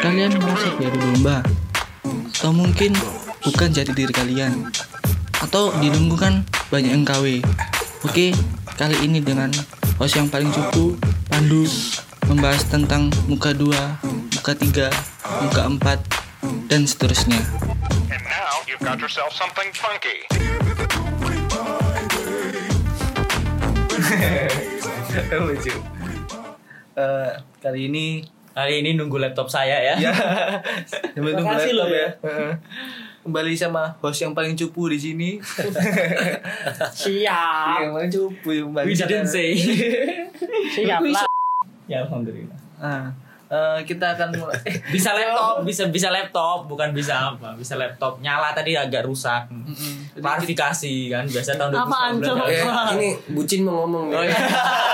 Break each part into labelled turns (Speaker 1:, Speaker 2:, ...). Speaker 1: Kalian merasa biar domba Atau mungkin bukan jadi diri kalian Atau di lingkungan banyak yang KW Oke, kali ini dengan host yang paling cukup Pandu Membahas tentang muka dua, muka tiga, muka empat, dan seterusnya
Speaker 2: And now you've got yourself something funky.
Speaker 3: lucu Eh, kali ini
Speaker 4: Kali ini nunggu laptop saya ya.
Speaker 3: ya sambil
Speaker 4: Terima
Speaker 3: nunggu
Speaker 4: kasih
Speaker 3: laptop
Speaker 4: loh ya.
Speaker 3: Heeh. kembali sama host yang paling cupu di sini
Speaker 4: Siap.
Speaker 3: yang paling cupu yang paling
Speaker 4: We didn't
Speaker 3: sana.
Speaker 4: say.
Speaker 3: Siap lah.
Speaker 4: ya alhamdulillah.
Speaker 3: Ah, eh, kita akan mulai
Speaker 4: Bisa
Speaker 5: Ya.
Speaker 4: laptop, bisa bisa laptop, bukan bisa apa, bisa laptop. Nyala tadi agak rusak. Klarifikasi kan biasa tahun 2019.
Speaker 6: Apaan, Cok?
Speaker 5: Eh, ini bucin mau ngomong nih.
Speaker 4: Oh, iya.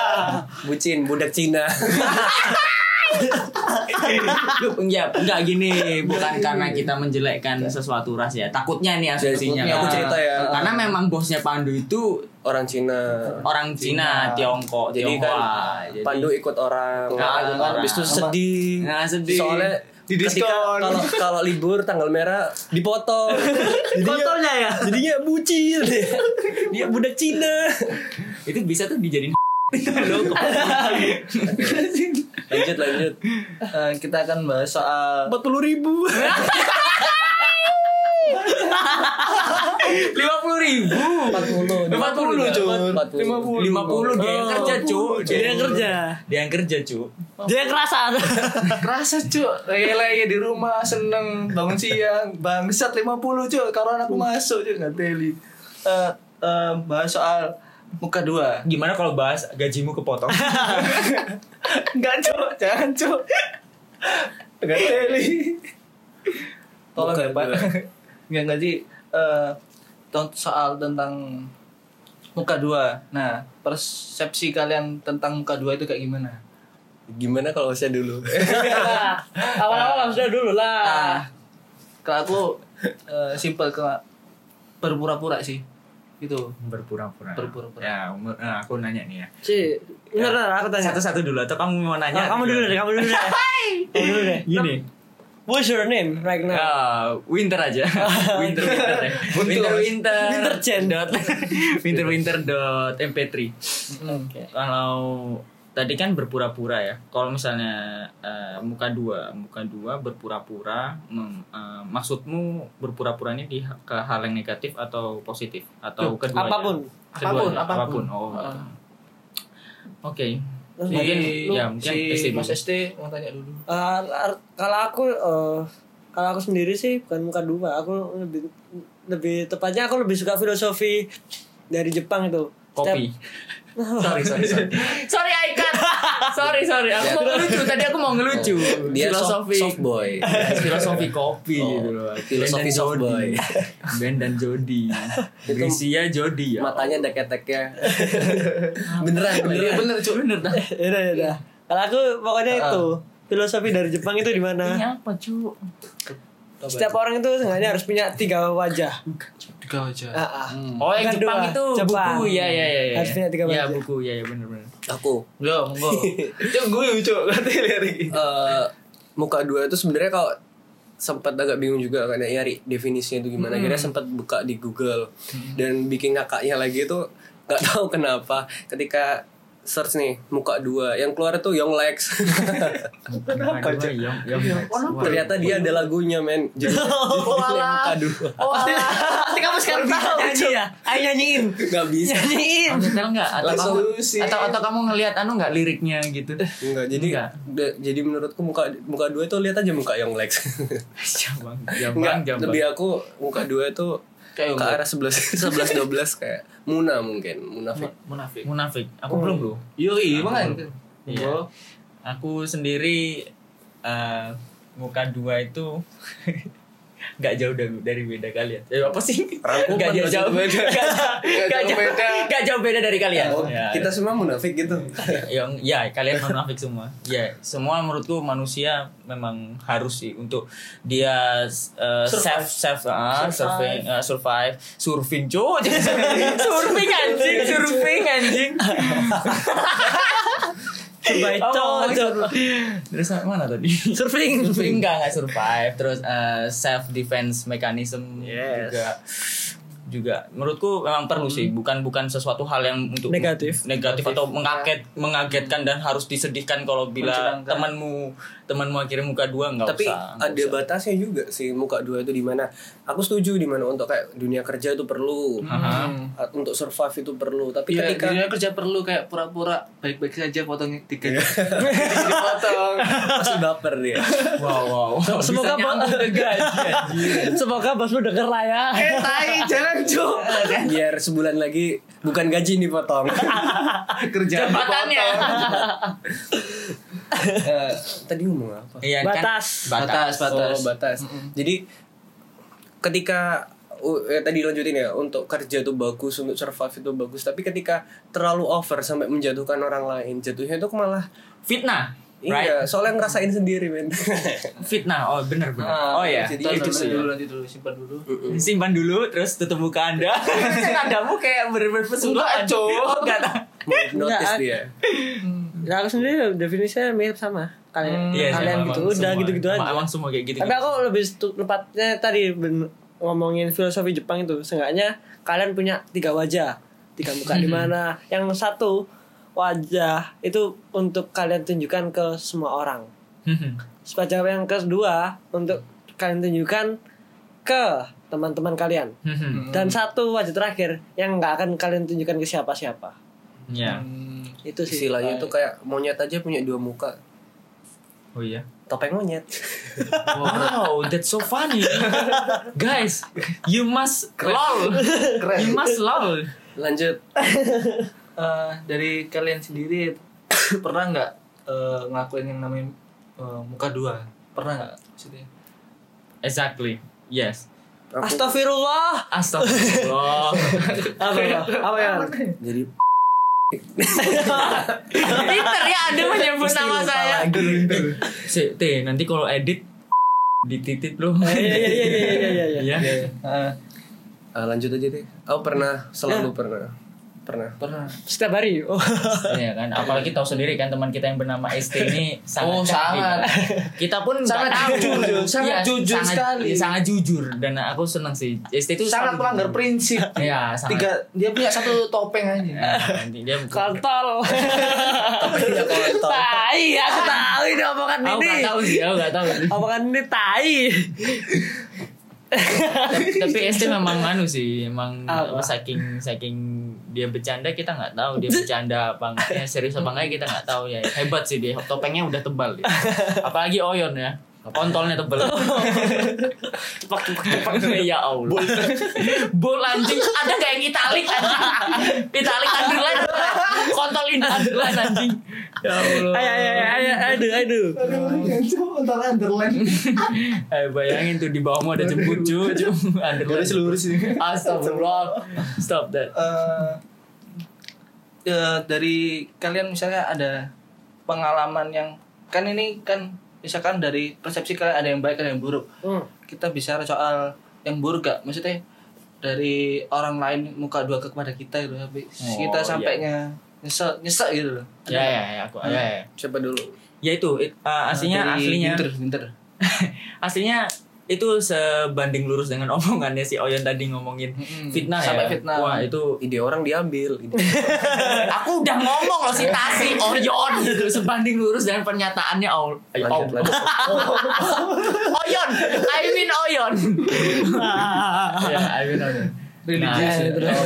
Speaker 5: Bucin, budak Cina.
Speaker 4: Enggak, Ya, enggak gini, bukan karena kita menjelekkan sesuatu ras ya. Takutnya nih asumsinya.
Speaker 5: takutnya. Aku cerita ya.
Speaker 4: Karena memang bosnya Pandu itu
Speaker 5: Orang Cina.
Speaker 4: orang Cina, Tiongkok,
Speaker 5: Jadi kan
Speaker 4: Tionghoa. Jadi-
Speaker 5: Pandu ikut orang.
Speaker 4: Ah, ikut orang.
Speaker 5: Habis itu sedih.
Speaker 4: Nah, sedih.
Speaker 5: Soalnya
Speaker 3: Di
Speaker 5: ketika
Speaker 3: diskon.
Speaker 5: kalau kalau libur tanggal merah dipotong. Jadinya,
Speaker 4: kotornya ya.
Speaker 5: jadinya bucin. Dia budak Cina.
Speaker 4: Itu bisa tuh dijadiin Gitu
Speaker 5: Lanjut lanjut.
Speaker 3: eh, kita akan bahas soal
Speaker 5: 40 ribu.
Speaker 4: lima puluh ribu
Speaker 5: 40.
Speaker 4: empat puluh cuy
Speaker 5: 40.
Speaker 4: lima puluh dia yang kerja cuy dia yang kerja dia yang kerja cuy
Speaker 6: Dia kerasa.
Speaker 3: kerasa cuk lele di rumah seneng bangun siang bangsat 50 cuk karena aku masuk cuk nggak teli Eh, eh, bahas soal muka dua
Speaker 4: gimana kalau bahas gajimu kepotong
Speaker 3: Enggak, Cok. Jangan, Cok. Enggak teli. Tolong ya, Pak. Enggak, enggak sih. Eh, tont- soal tentang muka dua. Nah, persepsi kalian tentang muka dua itu kayak gimana?
Speaker 5: Gimana kalau saya dulu?
Speaker 4: awal-awal sudah dulu lah
Speaker 3: Ah, kalau aku eh, simple ke berpura-pura sih. Gitu.
Speaker 4: berpura-pura
Speaker 3: Berpura-pura.
Speaker 4: ya umur- nah, aku nanya nih ya
Speaker 6: Ci, bener bener aku tanya.
Speaker 4: satu-satu dulu atau kamu mau
Speaker 6: Nah,
Speaker 4: nanya
Speaker 6: kamu dulu deh, kamu dulu deh. kamu dulu deh.
Speaker 4: gini
Speaker 6: What's your name right now?
Speaker 4: Ah, winter aja winter winter deh. winter winter
Speaker 6: Winter Jen.
Speaker 4: dot winter winter dot mp3 kalau tadi kan berpura-pura ya kalau misalnya eh, muka dua muka dua berpura-pura mem- eh, maksudmu berpura-puranya di ke hal yang negatif atau positif atau keduanya
Speaker 6: apapun. Ah.
Speaker 4: Keduanya,
Speaker 3: Apapun, Iya, apapun.
Speaker 4: oh gitu. oke
Speaker 6: Terus
Speaker 4: mungkin
Speaker 3: Si,
Speaker 4: ya mungkin
Speaker 3: si
Speaker 4: SD dulu.
Speaker 3: Mas ST mau tanya dulu.
Speaker 6: Eh, ar- kalau aku eh, kalau aku sendiri sih bukan muka dua, aku lebih lebih tepatnya aku lebih suka filosofi dari Jepang itu. Setiap-
Speaker 4: kopi sorry sorry sorry sorry I cut. sorry sorry aku mau ngelucu tadi aku mau ngelucu
Speaker 5: Oh, Dia soft,
Speaker 4: filosofi
Speaker 5: soft boy.
Speaker 4: filosofi kopi
Speaker 5: Oh,
Speaker 4: gitu loh
Speaker 5: filosofi
Speaker 4: Ben dan
Speaker 5: soft
Speaker 4: Jody.
Speaker 5: boy.
Speaker 4: Ben dan Jody Grisia Jody ya
Speaker 5: Matanya deket-deketnya. beneran,
Speaker 4: Iya,
Speaker 5: beneran.
Speaker 4: bener cuy bener dah
Speaker 6: Ya udah, ya udah. Kalau aku pokoknya itu filosofi dari Jepang itu di mana?
Speaker 4: ini apa cu
Speaker 6: Setiap orang itu seenggaknya harus punya tiga wajah.
Speaker 3: Tiga aja.
Speaker 6: Ah, ah.
Speaker 4: oh yang
Speaker 6: Bukan
Speaker 4: Jepang
Speaker 6: dua,
Speaker 4: itu
Speaker 6: Jepang.
Speaker 4: buku
Speaker 3: iya,
Speaker 4: ya ya ya ya
Speaker 6: Harus punya tiga
Speaker 4: ya
Speaker 6: baju.
Speaker 4: buku ya ya bener bener
Speaker 5: Aku
Speaker 3: Yo, monggo. Cuk, gue Cuk. Nggak teli hari
Speaker 4: Iya.
Speaker 3: ini.
Speaker 5: eh muka dua itu sebenarnya kalau sempat agak bingung juga kan ya nyari definisinya itu gimana. Akhirnya sempat buka di Google dan bikin kakaknya lagi itu nggak tahu kenapa ketika search nih muka dua yang keluar itu Young Lex
Speaker 4: kenapa cuy yang yang
Speaker 5: ternyata dia ada lagunya men jadi,
Speaker 4: Oh,
Speaker 5: jadi muka dua
Speaker 6: Pasti kamu sekarang tahu nyanyi ya? Ayo nyanyiin.
Speaker 5: nggak bisa
Speaker 4: Iya.
Speaker 6: Nyanyiin.
Speaker 4: kamu nyetel nggak atau kamu
Speaker 3: Resolusi.
Speaker 4: atau atau kamu ngelihat anu nggak liriknya gitu
Speaker 5: Enggak, jadi
Speaker 4: Nggak.
Speaker 5: da- jadi menurutku muka muka dua itu lihat aja muka Young Lex
Speaker 4: jambang
Speaker 5: Enggak,
Speaker 4: jambang jambang
Speaker 5: lebih aku muka dua itu
Speaker 3: Kayak
Speaker 5: ke arah 11 11 12 kayak Muna mungkin, munafik.
Speaker 3: Munafik.
Speaker 4: munafik aku
Speaker 5: Oh.
Speaker 4: belum loh
Speaker 3: Yo, iya, kan.
Speaker 4: Iya.
Speaker 3: Monggo.
Speaker 4: Aku sendiri eh, muka dua itu nggak jauh dari, dari beda kalian. Eh, apa sih?
Speaker 5: Rangkuman
Speaker 4: Nggak jauh,
Speaker 5: maksud
Speaker 4: jauh
Speaker 5: gue.
Speaker 4: beda. Nggak jauh beda. Nggak jauh beda dari kalian.
Speaker 5: Oh,
Speaker 4: Ya,
Speaker 5: kita semua munafik gitu.
Speaker 3: Iya,
Speaker 4: yang ya kalian munafik semua. Ya, semua menurutku manusia memang harus sih untuk dia eh, self self ah, surfing eh, survive surfing cuy. surfing anjing, surfing anjing. Bacot. Terus eh, mana tadi? Surfing. Surfing enggak enggak survive. Terus eh, self defense mechanism
Speaker 3: Yes.
Speaker 4: juga juga menurutku memang perlu sih bukan bukan sesuatu hal yang untuk
Speaker 6: Negatif.
Speaker 4: negatif atau mengaget mengagetkan dan harus disedihkan kalau bila
Speaker 3: Mencurangkan.
Speaker 4: temanmu temanmu akhirnya muka dua nggak
Speaker 5: tapi
Speaker 4: usah nggak
Speaker 5: ada
Speaker 4: usah.
Speaker 5: batasnya juga sih muka dua itu di mana aku setuju di mana untuk kayak dunia kerja itu perlu Uh, untuk survive itu perlu tapi
Speaker 3: Iya,
Speaker 5: ketika
Speaker 3: dunia kerja perlu kayak pura-pura baik-baik saja potongnya tiga dipotong.
Speaker 5: masih baper dia
Speaker 4: wow wow
Speaker 6: Semoga
Speaker 4: Bisa nyambung ke gaji, anjir.
Speaker 6: Semoga bosmu denger lah ya.
Speaker 3: Eh, tai, jalan cuk.
Speaker 5: biar sebulan lagi bukan gaji nih potong
Speaker 3: Kerja
Speaker 4: Jabatannya.
Speaker 5: Eh, tadi ngomong apa
Speaker 4: Iya, kan?
Speaker 6: Batas.
Speaker 4: batas
Speaker 3: Batas, batas.
Speaker 5: Oh, batas. Jadi ketika uh, ya, tadi lanjutin ya untuk kerja itu bagus untuk survive itu bagus tapi ketika terlalu over sampai menjatuhkan orang lain jatuhnya itu malah
Speaker 4: fitnah
Speaker 5: iya
Speaker 4: right
Speaker 5: soalnya ngerasain sendiri men
Speaker 4: fitnah oh benar benar
Speaker 3: Ah,
Speaker 4: oh ya
Speaker 5: jadi-
Speaker 3: Tonton
Speaker 5: itu sih.
Speaker 3: dulu nanti dulu simpan dulu.
Speaker 4: simpan dulu terus tutup muka anda kandamu kayak bener-bener
Speaker 3: Enggak,
Speaker 4: persembahan
Speaker 3: Cok.
Speaker 4: Oh, enggak tahu.
Speaker 5: notice
Speaker 3: ah.
Speaker 6: Nggak.
Speaker 5: dia
Speaker 6: Nah, aku sendiri definisinya mirip sama kalian.
Speaker 4: Iya sih,
Speaker 6: kalian
Speaker 4: emang-
Speaker 6: gitu,
Speaker 4: emang
Speaker 6: udah
Speaker 4: semua-
Speaker 6: gitu-gitu
Speaker 4: emang-
Speaker 6: aja.
Speaker 4: Emang semua kayak gitu.
Speaker 6: Tapi aku lebih stu- tepatnya tadi ben- ngomongin filosofi Jepang itu. Seenggaknya kalian punya tiga wajah, tiga muka di mana yang satu wajah itu untuk kalian tunjukkan ke semua orang.
Speaker 4: Hmm,
Speaker 6: Sebagai yang kedua untuk kalian tunjukkan ke teman-teman kalian.
Speaker 4: Hmm,
Speaker 5: Hmm.
Speaker 6: Dan satu wajah terakhir yang nggak akan kalian tunjukkan ke siapa-siapa.
Speaker 4: Iya.
Speaker 6: Itu sih.
Speaker 3: Ah.
Speaker 5: istilahnya tuh kayak monyet aja punya dua muka
Speaker 4: Oh iya.
Speaker 5: topeng monyet
Speaker 4: Wow, that's so funny. Guys, you must lol. You must lol.
Speaker 5: lanjut
Speaker 3: Eh, dari kalian sendiri pernah nggak eh, ngelakuin yang namanya eh, muka dua? Pernah nggak? Maksudnya?
Speaker 4: Exactly. Yes.
Speaker 5: Aku-
Speaker 6: Astagfirullah.
Speaker 4: Astagfirullah.
Speaker 6: Apa ya? Apa ya?
Speaker 5: jadi
Speaker 4: Peter ya ada menyebut nama saya. Eh, Si, T, nanti kalau edit dititit loh.
Speaker 6: Iya iya iya iya iya iya,
Speaker 4: Iya.
Speaker 6: iya.
Speaker 3: Eh,
Speaker 5: Ah, lanjut aja deh oh pernah selalu
Speaker 3: Ah.
Speaker 5: pernah pernah
Speaker 3: pernah.
Speaker 6: Setiap hari. Oh.
Speaker 4: Iya kan, apalagi tahu sendiri kan teman kita yang bernama ST ini sangat
Speaker 3: Oh,
Speaker 4: cantik.
Speaker 3: sangat.
Speaker 4: Kita pun nggak
Speaker 3: Sangat
Speaker 4: tahu.
Speaker 3: jujur,
Speaker 4: Iya,
Speaker 3: sangat jujur sekali.
Speaker 4: iya, sangat jujur dan aku senang sih. ST itu
Speaker 3: Sangat
Speaker 4: selalu
Speaker 3: pelanggar
Speaker 4: jujur.
Speaker 3: prinsip.
Speaker 4: Iya, sangat.
Speaker 3: Tiga, dia punya satu topeng aja.
Speaker 4: Nah, nanti dia
Speaker 6: kontol tai aku tahu ini omongan
Speaker 4: Aku
Speaker 6: ini
Speaker 4: nggak tahu sih, aku nggak tahu.
Speaker 6: omongan ini tai
Speaker 4: Tapi ST memang anu sih, emang
Speaker 6: Apa?
Speaker 4: saking saking dia bercanda kita nggak tahu dia bercanda apa enggaknya serius apa enggak kita nggak tahu ya. Hebat sih dia, topengnya udah tebal. dia. Apalagi Oyon ya. Kontolnya tebal.
Speaker 6: cepak cepak cepak
Speaker 4: ya Allah. Bol. anjing. Ada gak yang italik anjing? Italik underline. Kontolin underline anjing. Ya Allah.
Speaker 6: ayo ayo ayo aduh aduh
Speaker 4: Eh bayangin tuh di bawahmu ada jemput cu. cu. Underline.
Speaker 3: lurus ini.
Speaker 4: Astagfirullah. Stop that.
Speaker 3: eh eh, dari kalian misalnya ada pengalaman yang kan ini kan misalkan dari persepsi kalian ada yang baik ada yang buruk
Speaker 6: Hmm.
Speaker 3: kita bicara soal yang buruk gak maksudnya dari orang lain muka dua ke kepada kita gitu tapi
Speaker 4: Oh,
Speaker 3: kita
Speaker 4: iya.
Speaker 3: sampainya nyesek nyesek gitu loh
Speaker 4: Ya ya ya aku. Ya, ya.
Speaker 5: siapa dulu
Speaker 4: ya itu it, uh, aslinya
Speaker 3: Ah, Dari
Speaker 4: aslinya
Speaker 3: pinter pinter
Speaker 4: aslinya itu sebanding lurus dengan omongannya si Oyon tadi ngomongin
Speaker 3: Mm-mm.
Speaker 4: fitnah ya.
Speaker 3: Sampai fitnah.
Speaker 4: Wah, itu
Speaker 5: ide orang diambil ide
Speaker 4: aku udah ngomong loh sitasi Oyon gitu sebanding lurus dengan pernyataannya Aul.
Speaker 5: lanjut lanjut
Speaker 4: Oyon, I mean Oyon. ya, I mean Oyon.
Speaker 3: religius
Speaker 4: Nah,
Speaker 3: ya.
Speaker 4: terus.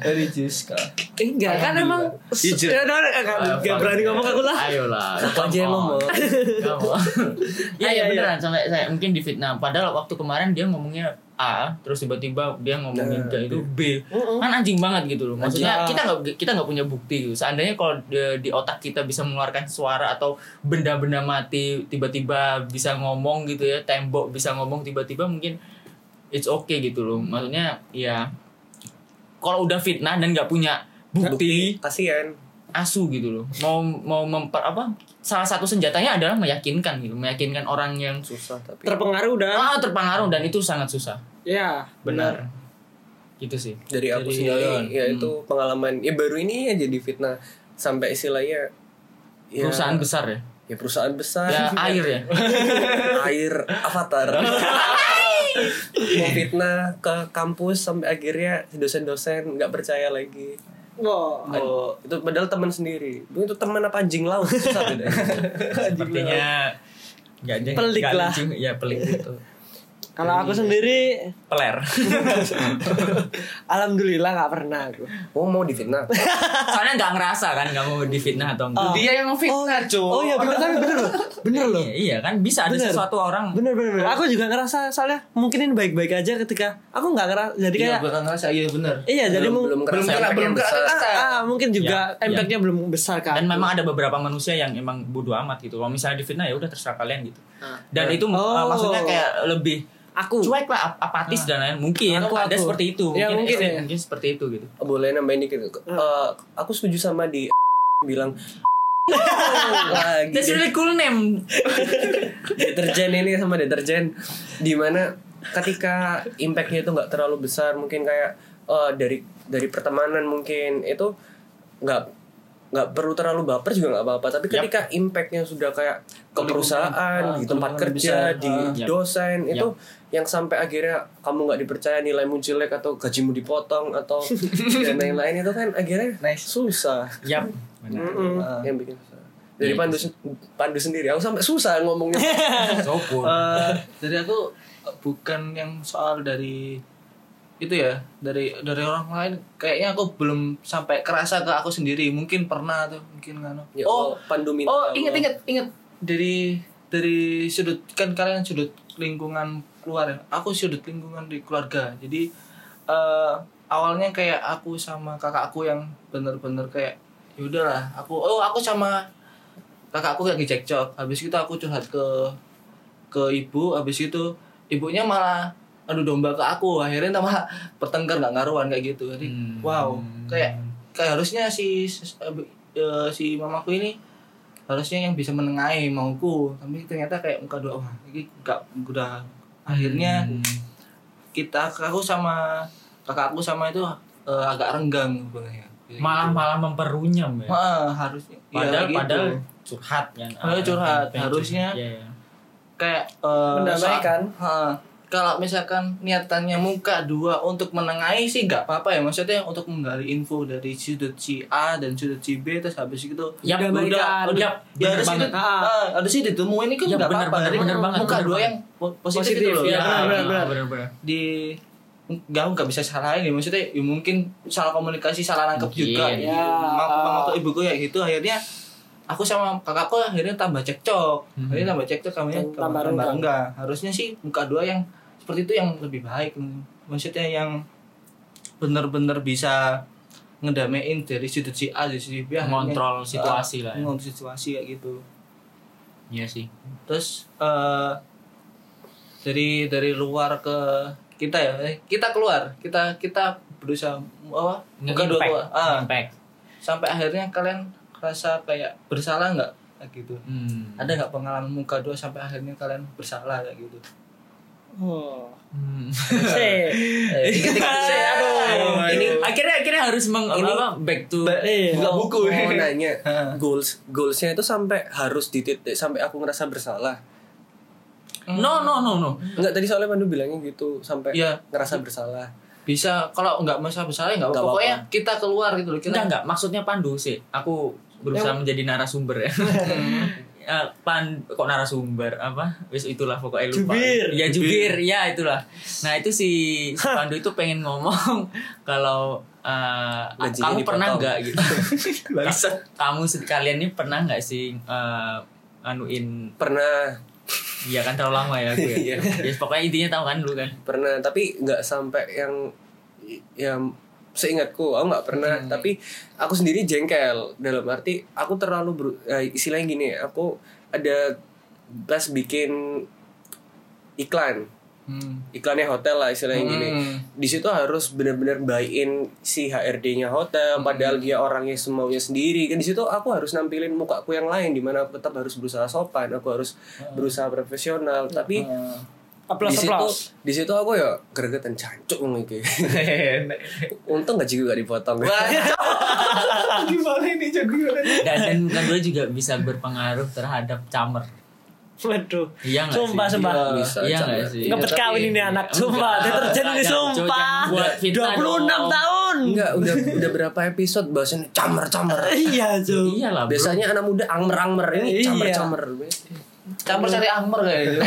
Speaker 3: religius kak
Speaker 6: Eh, enggak kan emang
Speaker 3: Jujur.
Speaker 6: ya udah enggak- enggak enggak berani ngomong aku lah
Speaker 4: Ayo lah.
Speaker 5: Aku aja yang ngomong.
Speaker 4: Iya,
Speaker 6: Ayo,
Speaker 4: ya,
Speaker 6: ayo.
Speaker 4: beneran sampai saya mungkin difitnah. Padahal waktu kemarin dia ngomongnya A, terus tiba-tiba dia ngomongin
Speaker 5: Nah,
Speaker 4: kayak itu B. Kan anjing banget gitu loh. Maksudnya kita nggak kita nggak punya bukti gitu. Seandainya kalau di, di otak kita bisa mengeluarkan suara atau benda-benda mati tiba-tiba bisa ngomong gitu ya, tembok bisa ngomong tiba-tiba mungkin it's okay gitu loh. Maksudnya ya kalau udah fitnah dan nggak punya bukti
Speaker 5: kasihan
Speaker 4: asu gitu loh mau mau memper apa salah satu senjatanya adalah meyakinkan gitu meyakinkan orang yang
Speaker 5: susah tapi
Speaker 6: terpengaruh
Speaker 4: ah
Speaker 6: udah
Speaker 4: terpengaruh dan itu sangat susah
Speaker 6: ya
Speaker 4: benar gitu sih iya,
Speaker 5: dari
Speaker 4: Dari
Speaker 5: aku
Speaker 6: iya.
Speaker 5: sendiri
Speaker 4: Yoyon.
Speaker 5: ya itu pengalaman ya baru ini ya jadi fitnah sampai istilahnya ya,
Speaker 4: Perusahaan besar ya?
Speaker 5: ya perusahaan besar
Speaker 4: Ya air ya?
Speaker 5: air avatar mau fitnah ke kampus sampai akhirnya dosen-dosen nggak percaya lagi
Speaker 6: Wah.
Speaker 5: oh. itu padahal teman sendiri itu teman apa anjing laut Susah bedanya.
Speaker 4: Sepertinya nggak jeng-
Speaker 6: Pelik
Speaker 4: nggak
Speaker 6: lah.
Speaker 4: lucu. Ya pelik gitu
Speaker 6: Kalau aku sendiri
Speaker 4: Peler
Speaker 6: alhamdulillah nggak pernah aku.
Speaker 5: oh mau difitnah
Speaker 4: Soalnya nggak ngerasa kan Kamu difitnah atau enggak
Speaker 3: Dia yang fitnah, cuy.
Speaker 6: Oh iya bener tapi bener loh. Oh. Bener loh.
Speaker 4: Iya kan bisa ada
Speaker 6: Bener.
Speaker 4: sesuatu orang
Speaker 6: Bener bener bener. Aku juga ngerasa soalnya mungkin ini baik-baik aja ketika aku nggak ngerasa jadi
Speaker 3: Iya,
Speaker 6: kayak
Speaker 3: gue nggak ngerasa, iya bener.
Speaker 6: iya jadi
Speaker 5: belum
Speaker 6: mung-
Speaker 5: belum kerasa
Speaker 4: kena-
Speaker 5: efeknya
Speaker 3: belum kerasa.
Speaker 5: besar.
Speaker 6: ah, ah, mungkin juga
Speaker 4: Ya, ya.
Speaker 6: impactnya belum besar kan.
Speaker 4: dan memang ada beberapa manusia yang emang bodoh amat gitu kalau misalnya difitnah ya udah terserah kalian gitu dan itu
Speaker 6: Oh.
Speaker 4: uh, maksudnya kayak lebih
Speaker 6: aku Nah.
Speaker 4: cuek lah ap- apatis dan lain mungkin
Speaker 6: Aku-
Speaker 4: ada
Speaker 6: aku.
Speaker 4: seperti itu
Speaker 6: Ya, mungkin
Speaker 4: eh,
Speaker 6: ya.
Speaker 4: mungkin seperti itu gitu
Speaker 5: boleh nambahin dikit
Speaker 4: Ah.
Speaker 5: Eh, aku setuju sama di bilang lagi
Speaker 4: that's really cool name
Speaker 5: deterjen ini sama deterjen dimana ketika impactnya itu nggak terlalu besar mungkin kayak eh, dari dari pertemanan mungkin itu nggak nggak perlu terlalu baper juga nggak apa-apa tapi ketika impactnya sudah kayak ke perusahaan
Speaker 3: Ah,
Speaker 5: di tempat
Speaker 3: kelingkungan besar.
Speaker 5: kerja Iya, di
Speaker 3: Ah.
Speaker 4: Yap.
Speaker 5: dosen itu yang sampai akhirnya kamu nggak dipercaya nilaimu jelek atau gajimu dipotong atau dan lain-lain itu kan akhirnya
Speaker 3: Nice.
Speaker 5: susah
Speaker 4: yap
Speaker 6: Mm-mm.
Speaker 5: Ah. yang bikin susah
Speaker 3: Iya,
Speaker 5: dari pandu sen- pandu sendiri aku sampai susah ngomongnya
Speaker 4: sopor
Speaker 3: Eh, dari aku eh, bukan yang soal dari itu ya dari dari orang lain kayaknya aku belum sampai kerasa ke aku sendiri mungkin pernah tuh mungkin kan
Speaker 5: Ya
Speaker 3: oh
Speaker 5: Allah, pandu minta
Speaker 3: oh
Speaker 5: Allah.
Speaker 3: inget inget inget dari dari sudut kan kalian sudut lingkungan keluar ya aku sudut lingkungan di keluarga jadi eh, awalnya kayak aku sama kakak aku yang bener-bener kayak yaudah lah aku oh aku sama kakak aku lagi cekcok habis itu aku curhat ke ke ibu habis itu ibunya malah adu domba ke aku akhirnya tambah pertengkar nggak ngaruan kayak gitu jadi
Speaker 4: Hmm.
Speaker 3: wow kayak kayak harusnya si eh, si mamaku ini harusnya yang bisa menengahi mauku tapi ternyata kayak muka dua orang ini nggak udah akhirnya
Speaker 4: Hmm.
Speaker 3: kita aku sama kakakku sama itu eh, agak renggang hubungannya Kayak
Speaker 4: malah
Speaker 3: gitu.
Speaker 4: malah memperunyam ya
Speaker 3: Heeh, harusnya Iya,
Speaker 4: padahal
Speaker 3: gitu.
Speaker 4: padahal curhat kan
Speaker 6: Eh,
Speaker 3: Padahal curhat, harusnya.
Speaker 4: Iya, iya.
Speaker 3: kayak eh,
Speaker 6: Mendamaikan.
Speaker 3: soal- Heeh. kalau misalkan niatannya muka dua untuk menengahi sih nggak apa-apa ya maksudnya untuk menggali info dari sudut si A dan sudut si B terus habis itu
Speaker 4: Yap,
Speaker 3: udah
Speaker 4: bener
Speaker 3: udah
Speaker 4: Yap,
Speaker 3: ya
Speaker 4: bener
Speaker 3: harus itu
Speaker 4: banget.
Speaker 3: eh, harus itu ditemuin itu
Speaker 4: Ya,
Speaker 3: nggak
Speaker 4: bener
Speaker 3: apa-apa
Speaker 4: banget,
Speaker 3: Jadi
Speaker 4: bener banget,
Speaker 3: muka
Speaker 4: bener
Speaker 3: dua
Speaker 4: banget.
Speaker 3: yang po- positif,
Speaker 6: Positif,
Speaker 3: itu loh
Speaker 6: ya,
Speaker 3: Nah,
Speaker 6: bener, bener.
Speaker 4: benar
Speaker 3: di nggak nggak bisa salahin ya maksudnya ya mungkin salah komunikasi salah nangkep
Speaker 4: Mungkin.
Speaker 3: juga
Speaker 4: Ya,
Speaker 3: Mak-
Speaker 6: ah.
Speaker 3: mak- mak- ibuku kayak gitu akhirnya aku sama kakakku akhirnya tambah cekcok
Speaker 4: Hmm.
Speaker 3: akhirnya tambah cekcok kamunya
Speaker 6: Tambah
Speaker 3: tambah tambah
Speaker 6: renggang.
Speaker 3: enggak harusnya sih muka dua yang seperti itu yang lebih baik maksudnya yang benar-benar bisa ngedamein dari sudut si A dari sudut B akhirnya-
Speaker 4: Ngontrol situasi
Speaker 3: Ah,
Speaker 4: lah ya.
Speaker 3: ngontrol situasi kayak gitu
Speaker 4: iya sih
Speaker 3: terus eh, dari dari luar ke kita ya eh, kita keluar kita kita berusaha apa buka dua
Speaker 4: Nge-impact.
Speaker 3: keluar. Ah,
Speaker 4: impact
Speaker 3: sampai akhirnya kalian rasa kayak bersalah nggak Kayak gitu
Speaker 4: Hmm.
Speaker 3: ada nggak pengalaman muka dua sampai akhirnya kalian bersalah kayak gitu
Speaker 6: Oh.
Speaker 4: Hmm.
Speaker 6: Sih.
Speaker 3: Eh, ingat-ingat sih, aduh.
Speaker 6: Oh,
Speaker 4: ini akhirnya akhirnya harus meng apa, back to
Speaker 6: Iya.
Speaker 3: buka buku
Speaker 5: mau nanya goals goalsnya itu sampai harus di titik sampai aku ngerasa bersalah
Speaker 4: no no no no
Speaker 5: Enggak tadi soalnya Pandu bilangnya gitu sampai
Speaker 3: Iya.
Speaker 5: ngerasa bersalah
Speaker 3: bisa kalau nggak masalah bersalah ya nggak
Speaker 5: Nggak
Speaker 3: apa-apa.
Speaker 5: apa-apa.
Speaker 3: pokoknya kita keluar gitu loh kita
Speaker 4: Enggak, enggak. Maksudnya Pandu sih. Aku berusaha menjadi narasumber ya. Eh, Pan kok narasumber apa wis itulah pokoknya lupa
Speaker 6: Jubir.
Speaker 4: ya jubir ya itulah nah itu si, si Pandu itu pengen ngomong kalau eh,
Speaker 5: Gajinya
Speaker 4: kamu pernah
Speaker 5: dipotong.
Speaker 4: nggak gitu kamu se- kalian ini pernah nggak sih eh, anuin
Speaker 5: pernah
Speaker 4: ya kan terlalu lama ya aku ya, ya pokoknya intinya tahu kan dulu kan
Speaker 5: pernah tapi nggak sampai yang yang seingatku aku nggak pernah
Speaker 3: Hmm.
Speaker 5: tapi aku sendiri jengkel dalam arti aku terlalu ber, eh, istilahnya gini aku ada pas bikin iklan
Speaker 3: Hmm.
Speaker 5: iklannya hotel lah istilahnya gini
Speaker 3: Hmm.
Speaker 5: di situ harus benar-benar buy-in si HRD-nya
Speaker 3: Hmm.
Speaker 5: hotel padahal dia orangnya semaunya sendiri kan di situ aku harus nampilin
Speaker 3: Hmm.
Speaker 5: mukaku yang lain di mana aku tetap harus berusaha sopan aku harus berusaha profesional tapi
Speaker 6: Applause,
Speaker 5: di situ
Speaker 6: applause.
Speaker 5: di situ aku ya gregetan cancuk ngomong iki. Untung gaji gue gak dipotong.
Speaker 3: gimana ini jadi gimana ini?
Speaker 4: dan dan muka dua juga bisa berpengaruh terhadap camer
Speaker 6: Waduh.
Speaker 4: iya nggak sih
Speaker 6: Sumpah, sumpah.
Speaker 5: Bisa, ya.
Speaker 4: iya
Speaker 5: camer.
Speaker 4: nggak sih
Speaker 6: Ngepet kawin ini anak, sumpah. Dia terjadi nih, sumpah. 26 tahun.
Speaker 5: Enggak, udah udah berapa episode bahasannya camer-camer.
Speaker 6: Iya, Cuk.
Speaker 4: iya lah biasanya
Speaker 5: Biasanya anak muda angmer-angmer ini
Speaker 6: Iya.
Speaker 5: camer-camer.
Speaker 3: campur cari angmer kayak gitu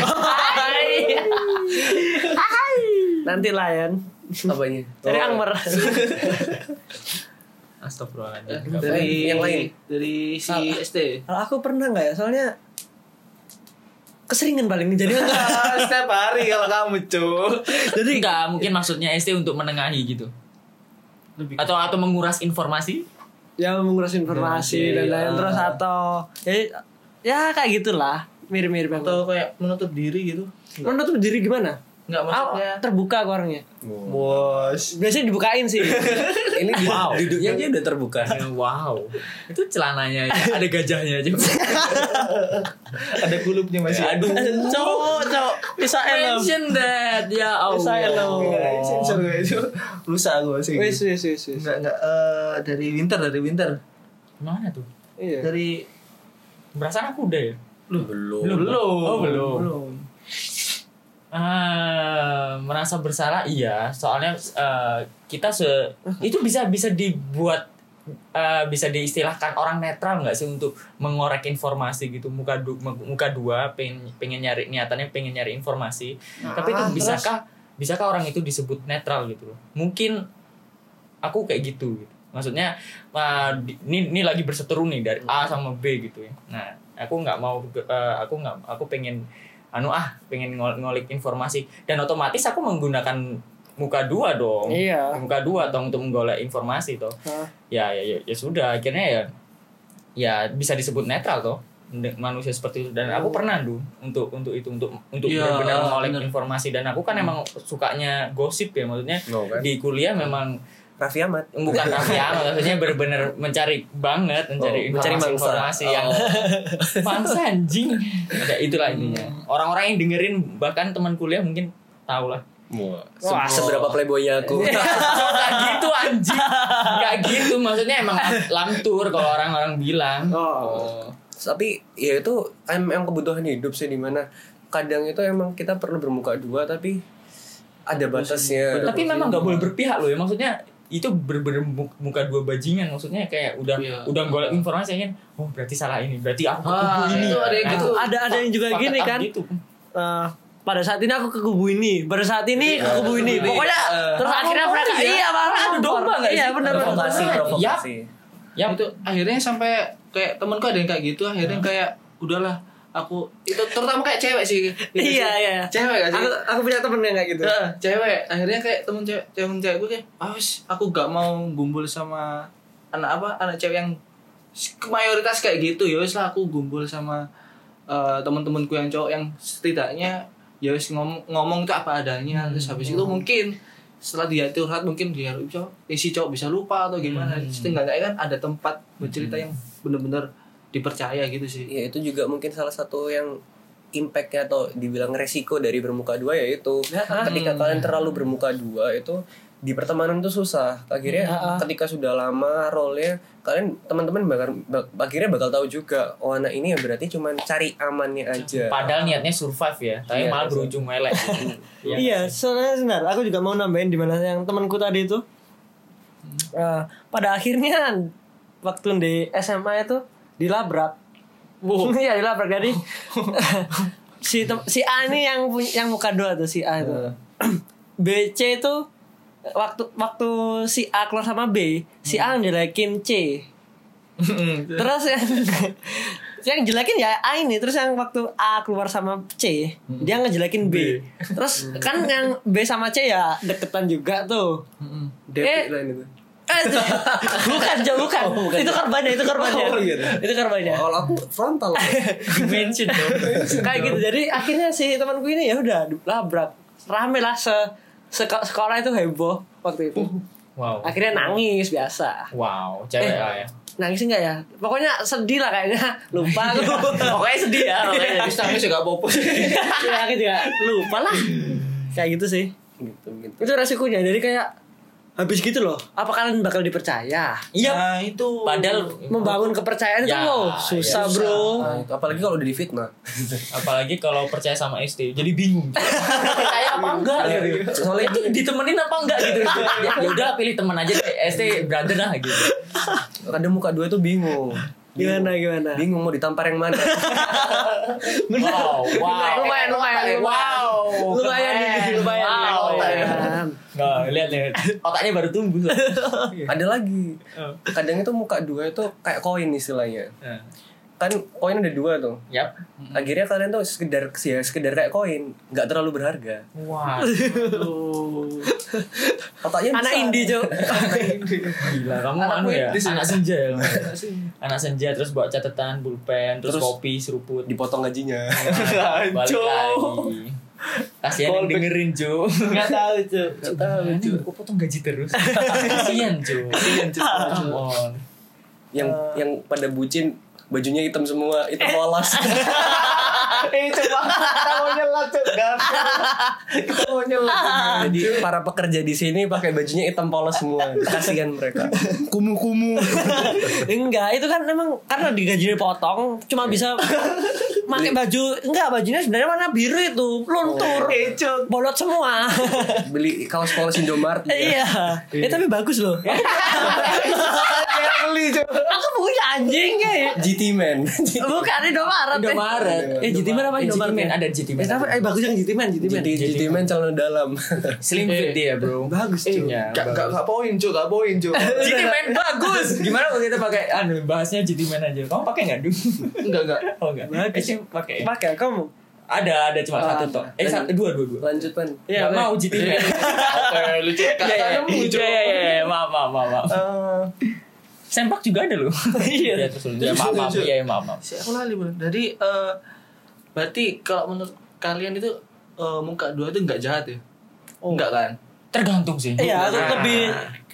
Speaker 6: Nanti lah, Yan.
Speaker 5: Apanya?
Speaker 4: Oh.
Speaker 6: Cari angmer.
Speaker 4: astagfirullahaladzim
Speaker 3: dari
Speaker 5: Yang lain.
Speaker 3: dari si
Speaker 6: Ah.
Speaker 3: ST
Speaker 6: Kalau aku pernah nggak ya? Soalnya keseringan paling jadi
Speaker 3: Ah, setiap hari kalau kamu cuy
Speaker 4: jadi nggak mungkin maksudnya ST untuk menengahi gitu atau atau menguras informasi
Speaker 6: ya mengurus
Speaker 4: Iya,
Speaker 6: informasi dan lain terus atau ya, ya kayak gitulah mirip-mirip banget.
Speaker 3: atau kayak menutup diri gitu
Speaker 6: Menutup diri gimana?
Speaker 3: nggak maksudnya
Speaker 6: Ah, terbuka aku orangnya.
Speaker 3: bos
Speaker 6: Biasanya dibukain sih.
Speaker 5: Ini duduk-
Speaker 4: Wow.
Speaker 5: duduknya aja udah terbuka.
Speaker 4: wow itu celananya aja, ada gajahnya aja
Speaker 3: ada kulupnya masih Ya, aduh
Speaker 6: cowok, cowok. Bisa elem.
Speaker 4: mention that ya
Speaker 6: Bisa elem.
Speaker 4: Allah
Speaker 3: sensor kayak itu rusak gue sih
Speaker 6: Wis, wis, wis, wis.
Speaker 3: nggak nggak eh, dari winter dari winter
Speaker 4: mana tuh
Speaker 6: Iya.
Speaker 3: dari
Speaker 4: perasaan aku udah ya
Speaker 5: Belum.
Speaker 4: oh belum Ah, merasa bersalah iya soalnya eh, kita se itu bisa bisa dibuat eh, bisa diistilahkan orang netral nggak sih untuk mengorek informasi gitu muka du- muka dua pengen pengen nyari niatannya pengen nyari informasi tapi itu
Speaker 3: Ah,
Speaker 4: bisakah bisakah orang itu disebut netral gitu loh mungkin aku kayak gitu, gitu. maksudnya ah, di- ini ini lagi berseteru nih dari A sama B gitu ya nah aku nggak mau eh, aku nggak aku pengen anu ah pengen ngol- ngolik informasi dan otomatis aku menggunakan muka dua dong
Speaker 6: Iya.
Speaker 4: muka dua atau untuk menggolek informasi toh
Speaker 6: Hah.
Speaker 4: ya ya ya, ya sudah akhirnya ya ya bisa disebut netral toh Men- manusia seperti itu dan aku pernah dulu untuk untuk itu untuk untuk
Speaker 3: Iya,
Speaker 4: benar-benar mengolek
Speaker 3: bener.
Speaker 4: informasi dan aku kan emang sukanya gosip ya maksudnya
Speaker 5: No, kan?
Speaker 4: di kuliah memang
Speaker 5: Raffi Ahmad.
Speaker 4: bukan rahasia maksudnya benar-benar mencari banget mencari
Speaker 5: Oh, mencari mangsa.
Speaker 4: informasi yang mangsa anjing ya itulah intinya orang-orang yang dengerin bahkan teman kuliah mungkin tahu lah
Speaker 5: Wah, seberapa playboynya aku.
Speaker 4: Iya. Gak gitu anjing Gak gitu maksudnya emang lamtur kalau orang-orang bilang
Speaker 6: Oh.
Speaker 5: tapi ya itu em- emang kebutuhan hidup sih dimana kadang itu emang kita perlu bermuka dua tapi ada batasnya
Speaker 4: tapi memang nggak boleh berpihak loh ya maksudnya itu bener-bener mu- muka dua bajingan maksudnya kayak udah
Speaker 3: Iya.
Speaker 4: udah golek informasi kan oh berarti salah ini berarti aku ke
Speaker 3: Ah,
Speaker 4: kubu ini
Speaker 3: itu ada yang
Speaker 4: Nah,
Speaker 3: gitu.
Speaker 6: Ada ada yang juga
Speaker 4: fakta
Speaker 6: gini kan.
Speaker 4: gitu.
Speaker 6: Eh, pada saat ini aku ke kubu ini, pada saat ini ke kubu ini. Pokoknya
Speaker 3: Eh,
Speaker 6: terus akhirnya
Speaker 4: ngomong
Speaker 6: mereka
Speaker 4: iya.
Speaker 6: iya marah
Speaker 4: Adu domba nggak
Speaker 6: Iya
Speaker 4: sih?
Speaker 6: benar benar.
Speaker 5: provokasi
Speaker 4: Yap.
Speaker 5: provokasi
Speaker 4: ya
Speaker 3: itu akhirnya sampai kayak temanku ada yang kayak gitu akhirnya kayak udahlah aku itu terutama kayak cewek sih gitu sih.
Speaker 6: Iya iya.
Speaker 3: cewek gak sih
Speaker 6: Aku aku punya temen yang kayak gitu.
Speaker 4: Iya.
Speaker 3: Heeh, cewek akhirnya kayak temen cewek temen cewek gue kayak awas aku gak mau gumbul sama anak apa anak cewek yang s- mayoritas kayak gitu ya wis lah aku gumbul sama eh, temen-temenku yang cowok yang setidaknya ya wis ngomong ngomong tuh apa adanya
Speaker 4: Hmm,
Speaker 3: terus habis itu mungkin setelah dia curhat mungkin dia bisa eh, si cowok bisa lupa atau gimana
Speaker 4: Hmm.
Speaker 3: setidaknya kan ada tempat bercerita yang bener-bener dipercaya gitu sih
Speaker 5: ya itu juga mungkin salah satu yang impactnya atau dibilang resiko dari bermuka dua yaitu
Speaker 6: Ya.
Speaker 5: ketika
Speaker 6: Hmm.
Speaker 5: kalian terlalu bermuka dua itu di pertemanan itu susah akhirnya
Speaker 6: Hmm,
Speaker 5: ketika sudah lama role kalian teman-teman bakal bak- akhirnya bakal tahu juga oh anak ini ya berarti cuman cari amannya aja
Speaker 4: padahal niatnya survive ya tapi
Speaker 5: Iya,
Speaker 4: malah
Speaker 5: iya.
Speaker 4: berujung melek Iya.
Speaker 6: Iya, soalnya sebentar, aku juga mau nambahin di mana yang temanku tadi itu. Eh, pada akhirnya waktu di SMA itu dilabrak. Iya, dilabrak jadi si tem- si A ini yang punya- yang muka dua tuh si A itu. B C itu waktu waktu si A keluar sama B, si A ngejelekin C.
Speaker 4: Hmm.
Speaker 6: terus yang yang jelekin ya A ini terus yang waktu A keluar sama C dia ngejelekin B. terus kan yang B sama C ya deketan juga tuh eh,
Speaker 5: Lain itu.
Speaker 6: eh, bukan Jo, Oh, bukan. Oh, iya. itu korbannya itu korbannya itu korbannya
Speaker 5: kalau aku frontal
Speaker 4: dimension dong
Speaker 6: kayak gitu jadi akhirnya si temanku ini ya udah labrak rame lah se, se sekolah itu heboh waktu itu
Speaker 4: wow
Speaker 6: akhirnya nangis biasa
Speaker 4: wow cewek lah ya
Speaker 6: nangis enggak ya pokoknya sedih lah kayaknya lupa aku pokoknya sedih ya pokoknya.
Speaker 3: Habis nangis juga apa-apa
Speaker 6: ya aku juga lupa lah kayak gitu sih
Speaker 5: gitu gitu
Speaker 6: itu resikonya jadi kayak habis gitu loh apa kalian bakal dipercaya
Speaker 4: Iya.
Speaker 3: Nah itu
Speaker 4: Padahal
Speaker 6: membangun kepercayaan itu
Speaker 4: Ya,
Speaker 6: loh susah, bro
Speaker 5: Nah, itu apalagi kalau udah difitnah
Speaker 4: apalagi kalau percaya sama SD jadi bingung. percaya apa enggak? gitu.
Speaker 5: Soalnya
Speaker 4: itu ditemenin apa enggak gitu. ya udah pilih teman aja deh, SD brother lah gitu.
Speaker 5: kadang muka dua tuh bingung
Speaker 6: gimana gimana
Speaker 5: bingung mau ditampar yang mana
Speaker 4: Wow, wow.
Speaker 6: Lumayan, lumayan, lumayan.
Speaker 4: Wow.
Speaker 6: lumayan nih lumayan ya.
Speaker 4: Wow.
Speaker 6: lumayan.
Speaker 4: Nah, lihat lihat. Otaknya baru tumbuh.
Speaker 5: ada lagi kadang itu muka dua itu kayak koin istilahnya
Speaker 4: Nah,
Speaker 5: kan koin ada dua tuh
Speaker 4: Yap.
Speaker 5: akhirnya kalian tuh sekedar ya sekedar kayak koin nggak terlalu berharga
Speaker 4: Wah.
Speaker 5: otaknya
Speaker 6: anak
Speaker 5: besar.
Speaker 6: indie cok
Speaker 4: Gila, kamu
Speaker 3: Anak
Speaker 4: anu ya?
Speaker 3: puitis ya?
Speaker 4: Anak senja ya. kamu. Anak senja terus bawa catatan, pulpen, terus,
Speaker 5: Terus
Speaker 4: kopi, seruput.
Speaker 5: dipotong gajinya
Speaker 4: Balik
Speaker 3: Jo.
Speaker 4: lagi. Kasihan yang
Speaker 3: Callback.
Speaker 4: dengerin Jo.
Speaker 3: Gak tau cuy
Speaker 4: Gimana nih, kok potong gaji terus? Kasihan Jo. Kasihan Jo. Come on.
Speaker 5: yang yang pada bucin bajunya hitam semua hitam polos
Speaker 3: Eh coba Kita mau nyela cuy Gak Kita mau nyela
Speaker 5: jadi para pekerja di sini pakai bajunya hitam polos semua kasihan mereka
Speaker 1: Kumu-kumu.
Speaker 6: enggak itu kan memang karena digajinya potong cuma bisa pakai baju enggak bajunya sebenarnya warna biru itu luntur
Speaker 3: Eh cuy
Speaker 6: bolot semua
Speaker 5: beli kaos polos Indomaret ya.
Speaker 6: iya eh tapi bagus loh
Speaker 3: Saya beli cuy
Speaker 6: aku punya anjing ya
Speaker 5: GT man
Speaker 6: bukan Indomaret
Speaker 5: Indomaret.
Speaker 6: eh Jitiman apa
Speaker 4: Eh,
Speaker 6: Indomaret
Speaker 4: Jitiman,
Speaker 6: ya?
Speaker 4: ada Jitiman.
Speaker 6: eh tapi eh bagus yang Jitiman Jitiman
Speaker 5: GT GT man celana dalam
Speaker 4: Slim fit dia, Bro.
Speaker 6: bagus cuy
Speaker 4: Ya,
Speaker 3: Gak
Speaker 4: bagus.
Speaker 3: gak gak poin cuy Gak poin cuy
Speaker 4: GT Man bagus. Gimana kalau kita pakai anu bahasnya GT Man aja. Kamu pakai nggak dulu?
Speaker 3: Enggak enggak
Speaker 4: Oh enggak. Eh, sih, pakai.
Speaker 6: pakai kamu
Speaker 4: Ada ada cuma satu tok. Eh satu, dua dua dua.
Speaker 5: lanjut man
Speaker 4: Iya,
Speaker 6: Iya,
Speaker 4: mau GT Man.
Speaker 3: Oke lucu
Speaker 4: Iya iya
Speaker 3: Kakak nemu
Speaker 4: iya
Speaker 3: cuy
Speaker 4: iya iya. Maaf maaf maaf. maaf.
Speaker 3: Eh,
Speaker 4: Sempak juga ada loh. Iya terus lanjut. Ya, maaf maaf. Iya maaf maaf.
Speaker 3: Si aku lali bro. Jadi eh, berarti kalau menurut kalian itu eh, muka dua itu nggak jahat ya? Enggak kan?
Speaker 4: Tergantung sih.
Speaker 6: Iya, aku
Speaker 4: Nah,
Speaker 6: lebih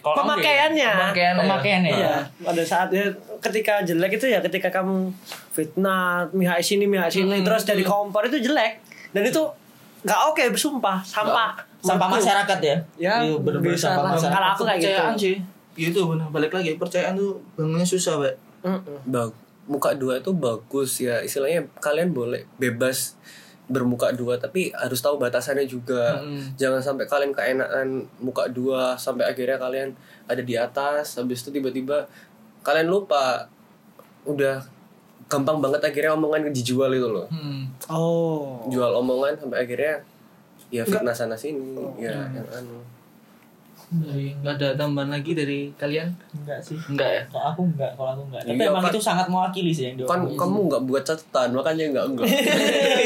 Speaker 4: kalau kamu
Speaker 6: pemakaiannya.
Speaker 4: kayak- Pemakaiannya. Pemakaiannya.
Speaker 6: Iya,
Speaker 4: ya.
Speaker 6: pada saatnya ketika jelek itu ya ketika kamu fitnah, mihak sini, mihak sini, terus jadi kompor itu jelek. Dan itu nggak oke, bersumpah, sampah.
Speaker 4: Sampah
Speaker 6: Menurutku.
Speaker 4: masyarakat ya.
Speaker 6: Ya,
Speaker 3: Iya, bener-bener
Speaker 6: bisa
Speaker 3: sampah
Speaker 6: lah.
Speaker 3: masyarakat.
Speaker 6: Kalau aku kayak gitu.
Speaker 3: Kepercayaan sih. Ya itu benar balik lagi percayaan tuh bangunnya susah, Pak.
Speaker 6: Mm-mm.
Speaker 5: Bag- muka dua itu bagus ya istilahnya kalian boleh bebas bermuka dua tapi harus tahu batasannya juga jangan sampai kalian keenaan muka dua sampai akhirnya kalian ada di atas habis itu tiba-tiba kalian lupa udah gampang banget akhirnya omongan dijual itu loh
Speaker 6: Oh.
Speaker 5: jual omongan sampai akhirnya ya fitnah sana sini ya yang anu
Speaker 3: Enggak ada tambahan lagi dari kalian?
Speaker 4: Enggak sih.
Speaker 3: Enggak ya?
Speaker 4: Kalau aku enggak, kalau aku enggak. Tapi
Speaker 5: Iya,
Speaker 4: emang
Speaker 5: kan-
Speaker 4: itu sangat mewakili sih yang
Speaker 5: kan
Speaker 4: diomongin.
Speaker 5: kamu nggak buat catatan makanya nggak enggak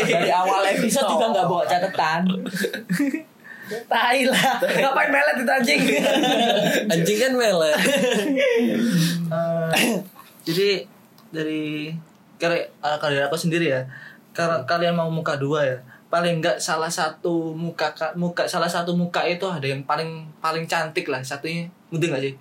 Speaker 4: dari awal episode juga nggak bawa catatan.
Speaker 6: Tai lah. Ngapain melet itu anjing?
Speaker 5: anjing kan melet
Speaker 3: Jadi dari kare- eh, kalian aku sendiri ya. Kalau kalian mau muka dua ya, paling enggak salah satu muka ka- muka salah satu muka itu ada yang paling paling cantik lah satunya. Mungkin enggak sih?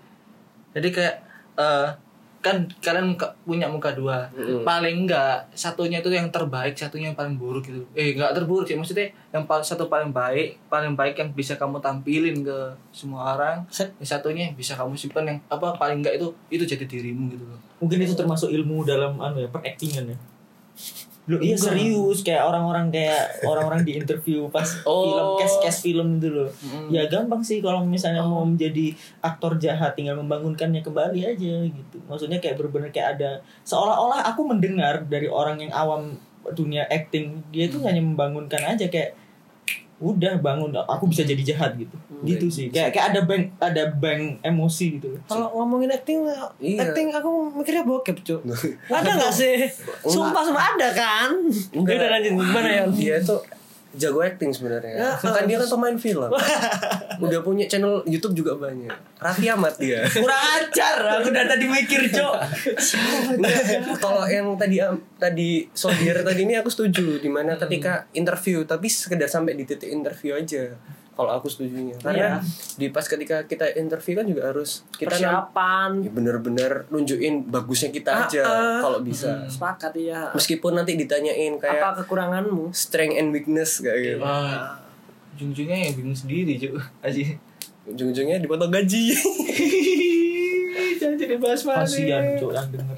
Speaker 3: Jadi kayak eh, kan kalian muka- punya muka dua. Paling enggak satunya itu yang terbaik, satunya yang paling buruk gitu. Eh, enggak terburuk sih maksudnya yang pal- satu paling baik, paling baik yang bisa kamu tampilin ke semua orang. Yang satunya yang bisa kamu simpan yang apa paling enggak itu itu jadi dirimu gitu loh.
Speaker 4: Mungkin itu termasuk ilmu dalam anu ya, peractingan ya. Loh, iya serius kayak orang-orang kayak orang-orang di interview pas
Speaker 5: Oh.
Speaker 4: film cast-cast film itu loh. Ya gampang sih kalau misalnya mau menjadi aktor jahat tinggal membangunkannya kembali aja gitu. Maksudnya kayak bener-bener kayak ada seolah-olah aku mendengar dari orang yang awam dunia acting dia itu hanya membangunkan aja kayak udah bangun aku bisa jadi jahat gitu. Gitu sih. Kayak kayak ada bank ada bank emosi gitu. loh.
Speaker 6: Kalau ngomongin acting,
Speaker 5: Iya.
Speaker 6: acting aku mikirnya bokep, Cuk. ada nggak sih? Sumpah sumpah ada kan? Ya udah lanjut gimana ya?
Speaker 5: Dia itu jago acting
Speaker 6: Ya,
Speaker 5: sebenarnya. kan dia kan pemain film. Udah punya channel YouTube juga banyak. Raffi Ahmad
Speaker 6: Iya.
Speaker 5: dia.
Speaker 4: kurang ajar aku udah tadi mikir cok
Speaker 5: Kalau yang tadi am- tadi
Speaker 6: Hmm.
Speaker 5: soldier tadi ini aku setuju dimana ketika interview tapi sekedar sampai di titik interview aja. kalau aku setujunya
Speaker 6: Iya.
Speaker 5: karena di pas ketika kita interview kan juga harus kita nam-
Speaker 6: persiapan
Speaker 5: ya bener-bener nunjukin bagusnya kita aja
Speaker 6: Ah, ah.
Speaker 5: kalau bisa
Speaker 6: sepakat iya
Speaker 5: meskipun nanti ditanyain
Speaker 6: apa
Speaker 5: kayak
Speaker 6: kekuranganmu
Speaker 5: strength and weakness kayak
Speaker 3: Ah.
Speaker 5: gitu
Speaker 3: Wah, ujung-ujungnya ya bingung sendiri cuy Aji
Speaker 5: ujung-ujungnya dipotong gaji
Speaker 7: Jangan jadi bahas
Speaker 3: kasihan cuy yang denger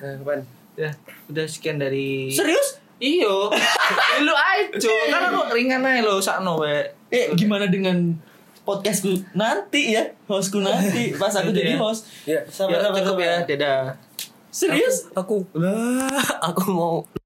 Speaker 5: nah, kapan
Speaker 3: ya udah sekian dari
Speaker 6: serius
Speaker 3: iyo lu aja kan aku ringan aja lo sakno we
Speaker 4: Eh gimana dengan podcastku nanti ya hostku nanti pas aku jadi host
Speaker 5: ya
Speaker 4: sama
Speaker 3: ya cukup ya dadah
Speaker 4: serius
Speaker 5: aku lah aku mau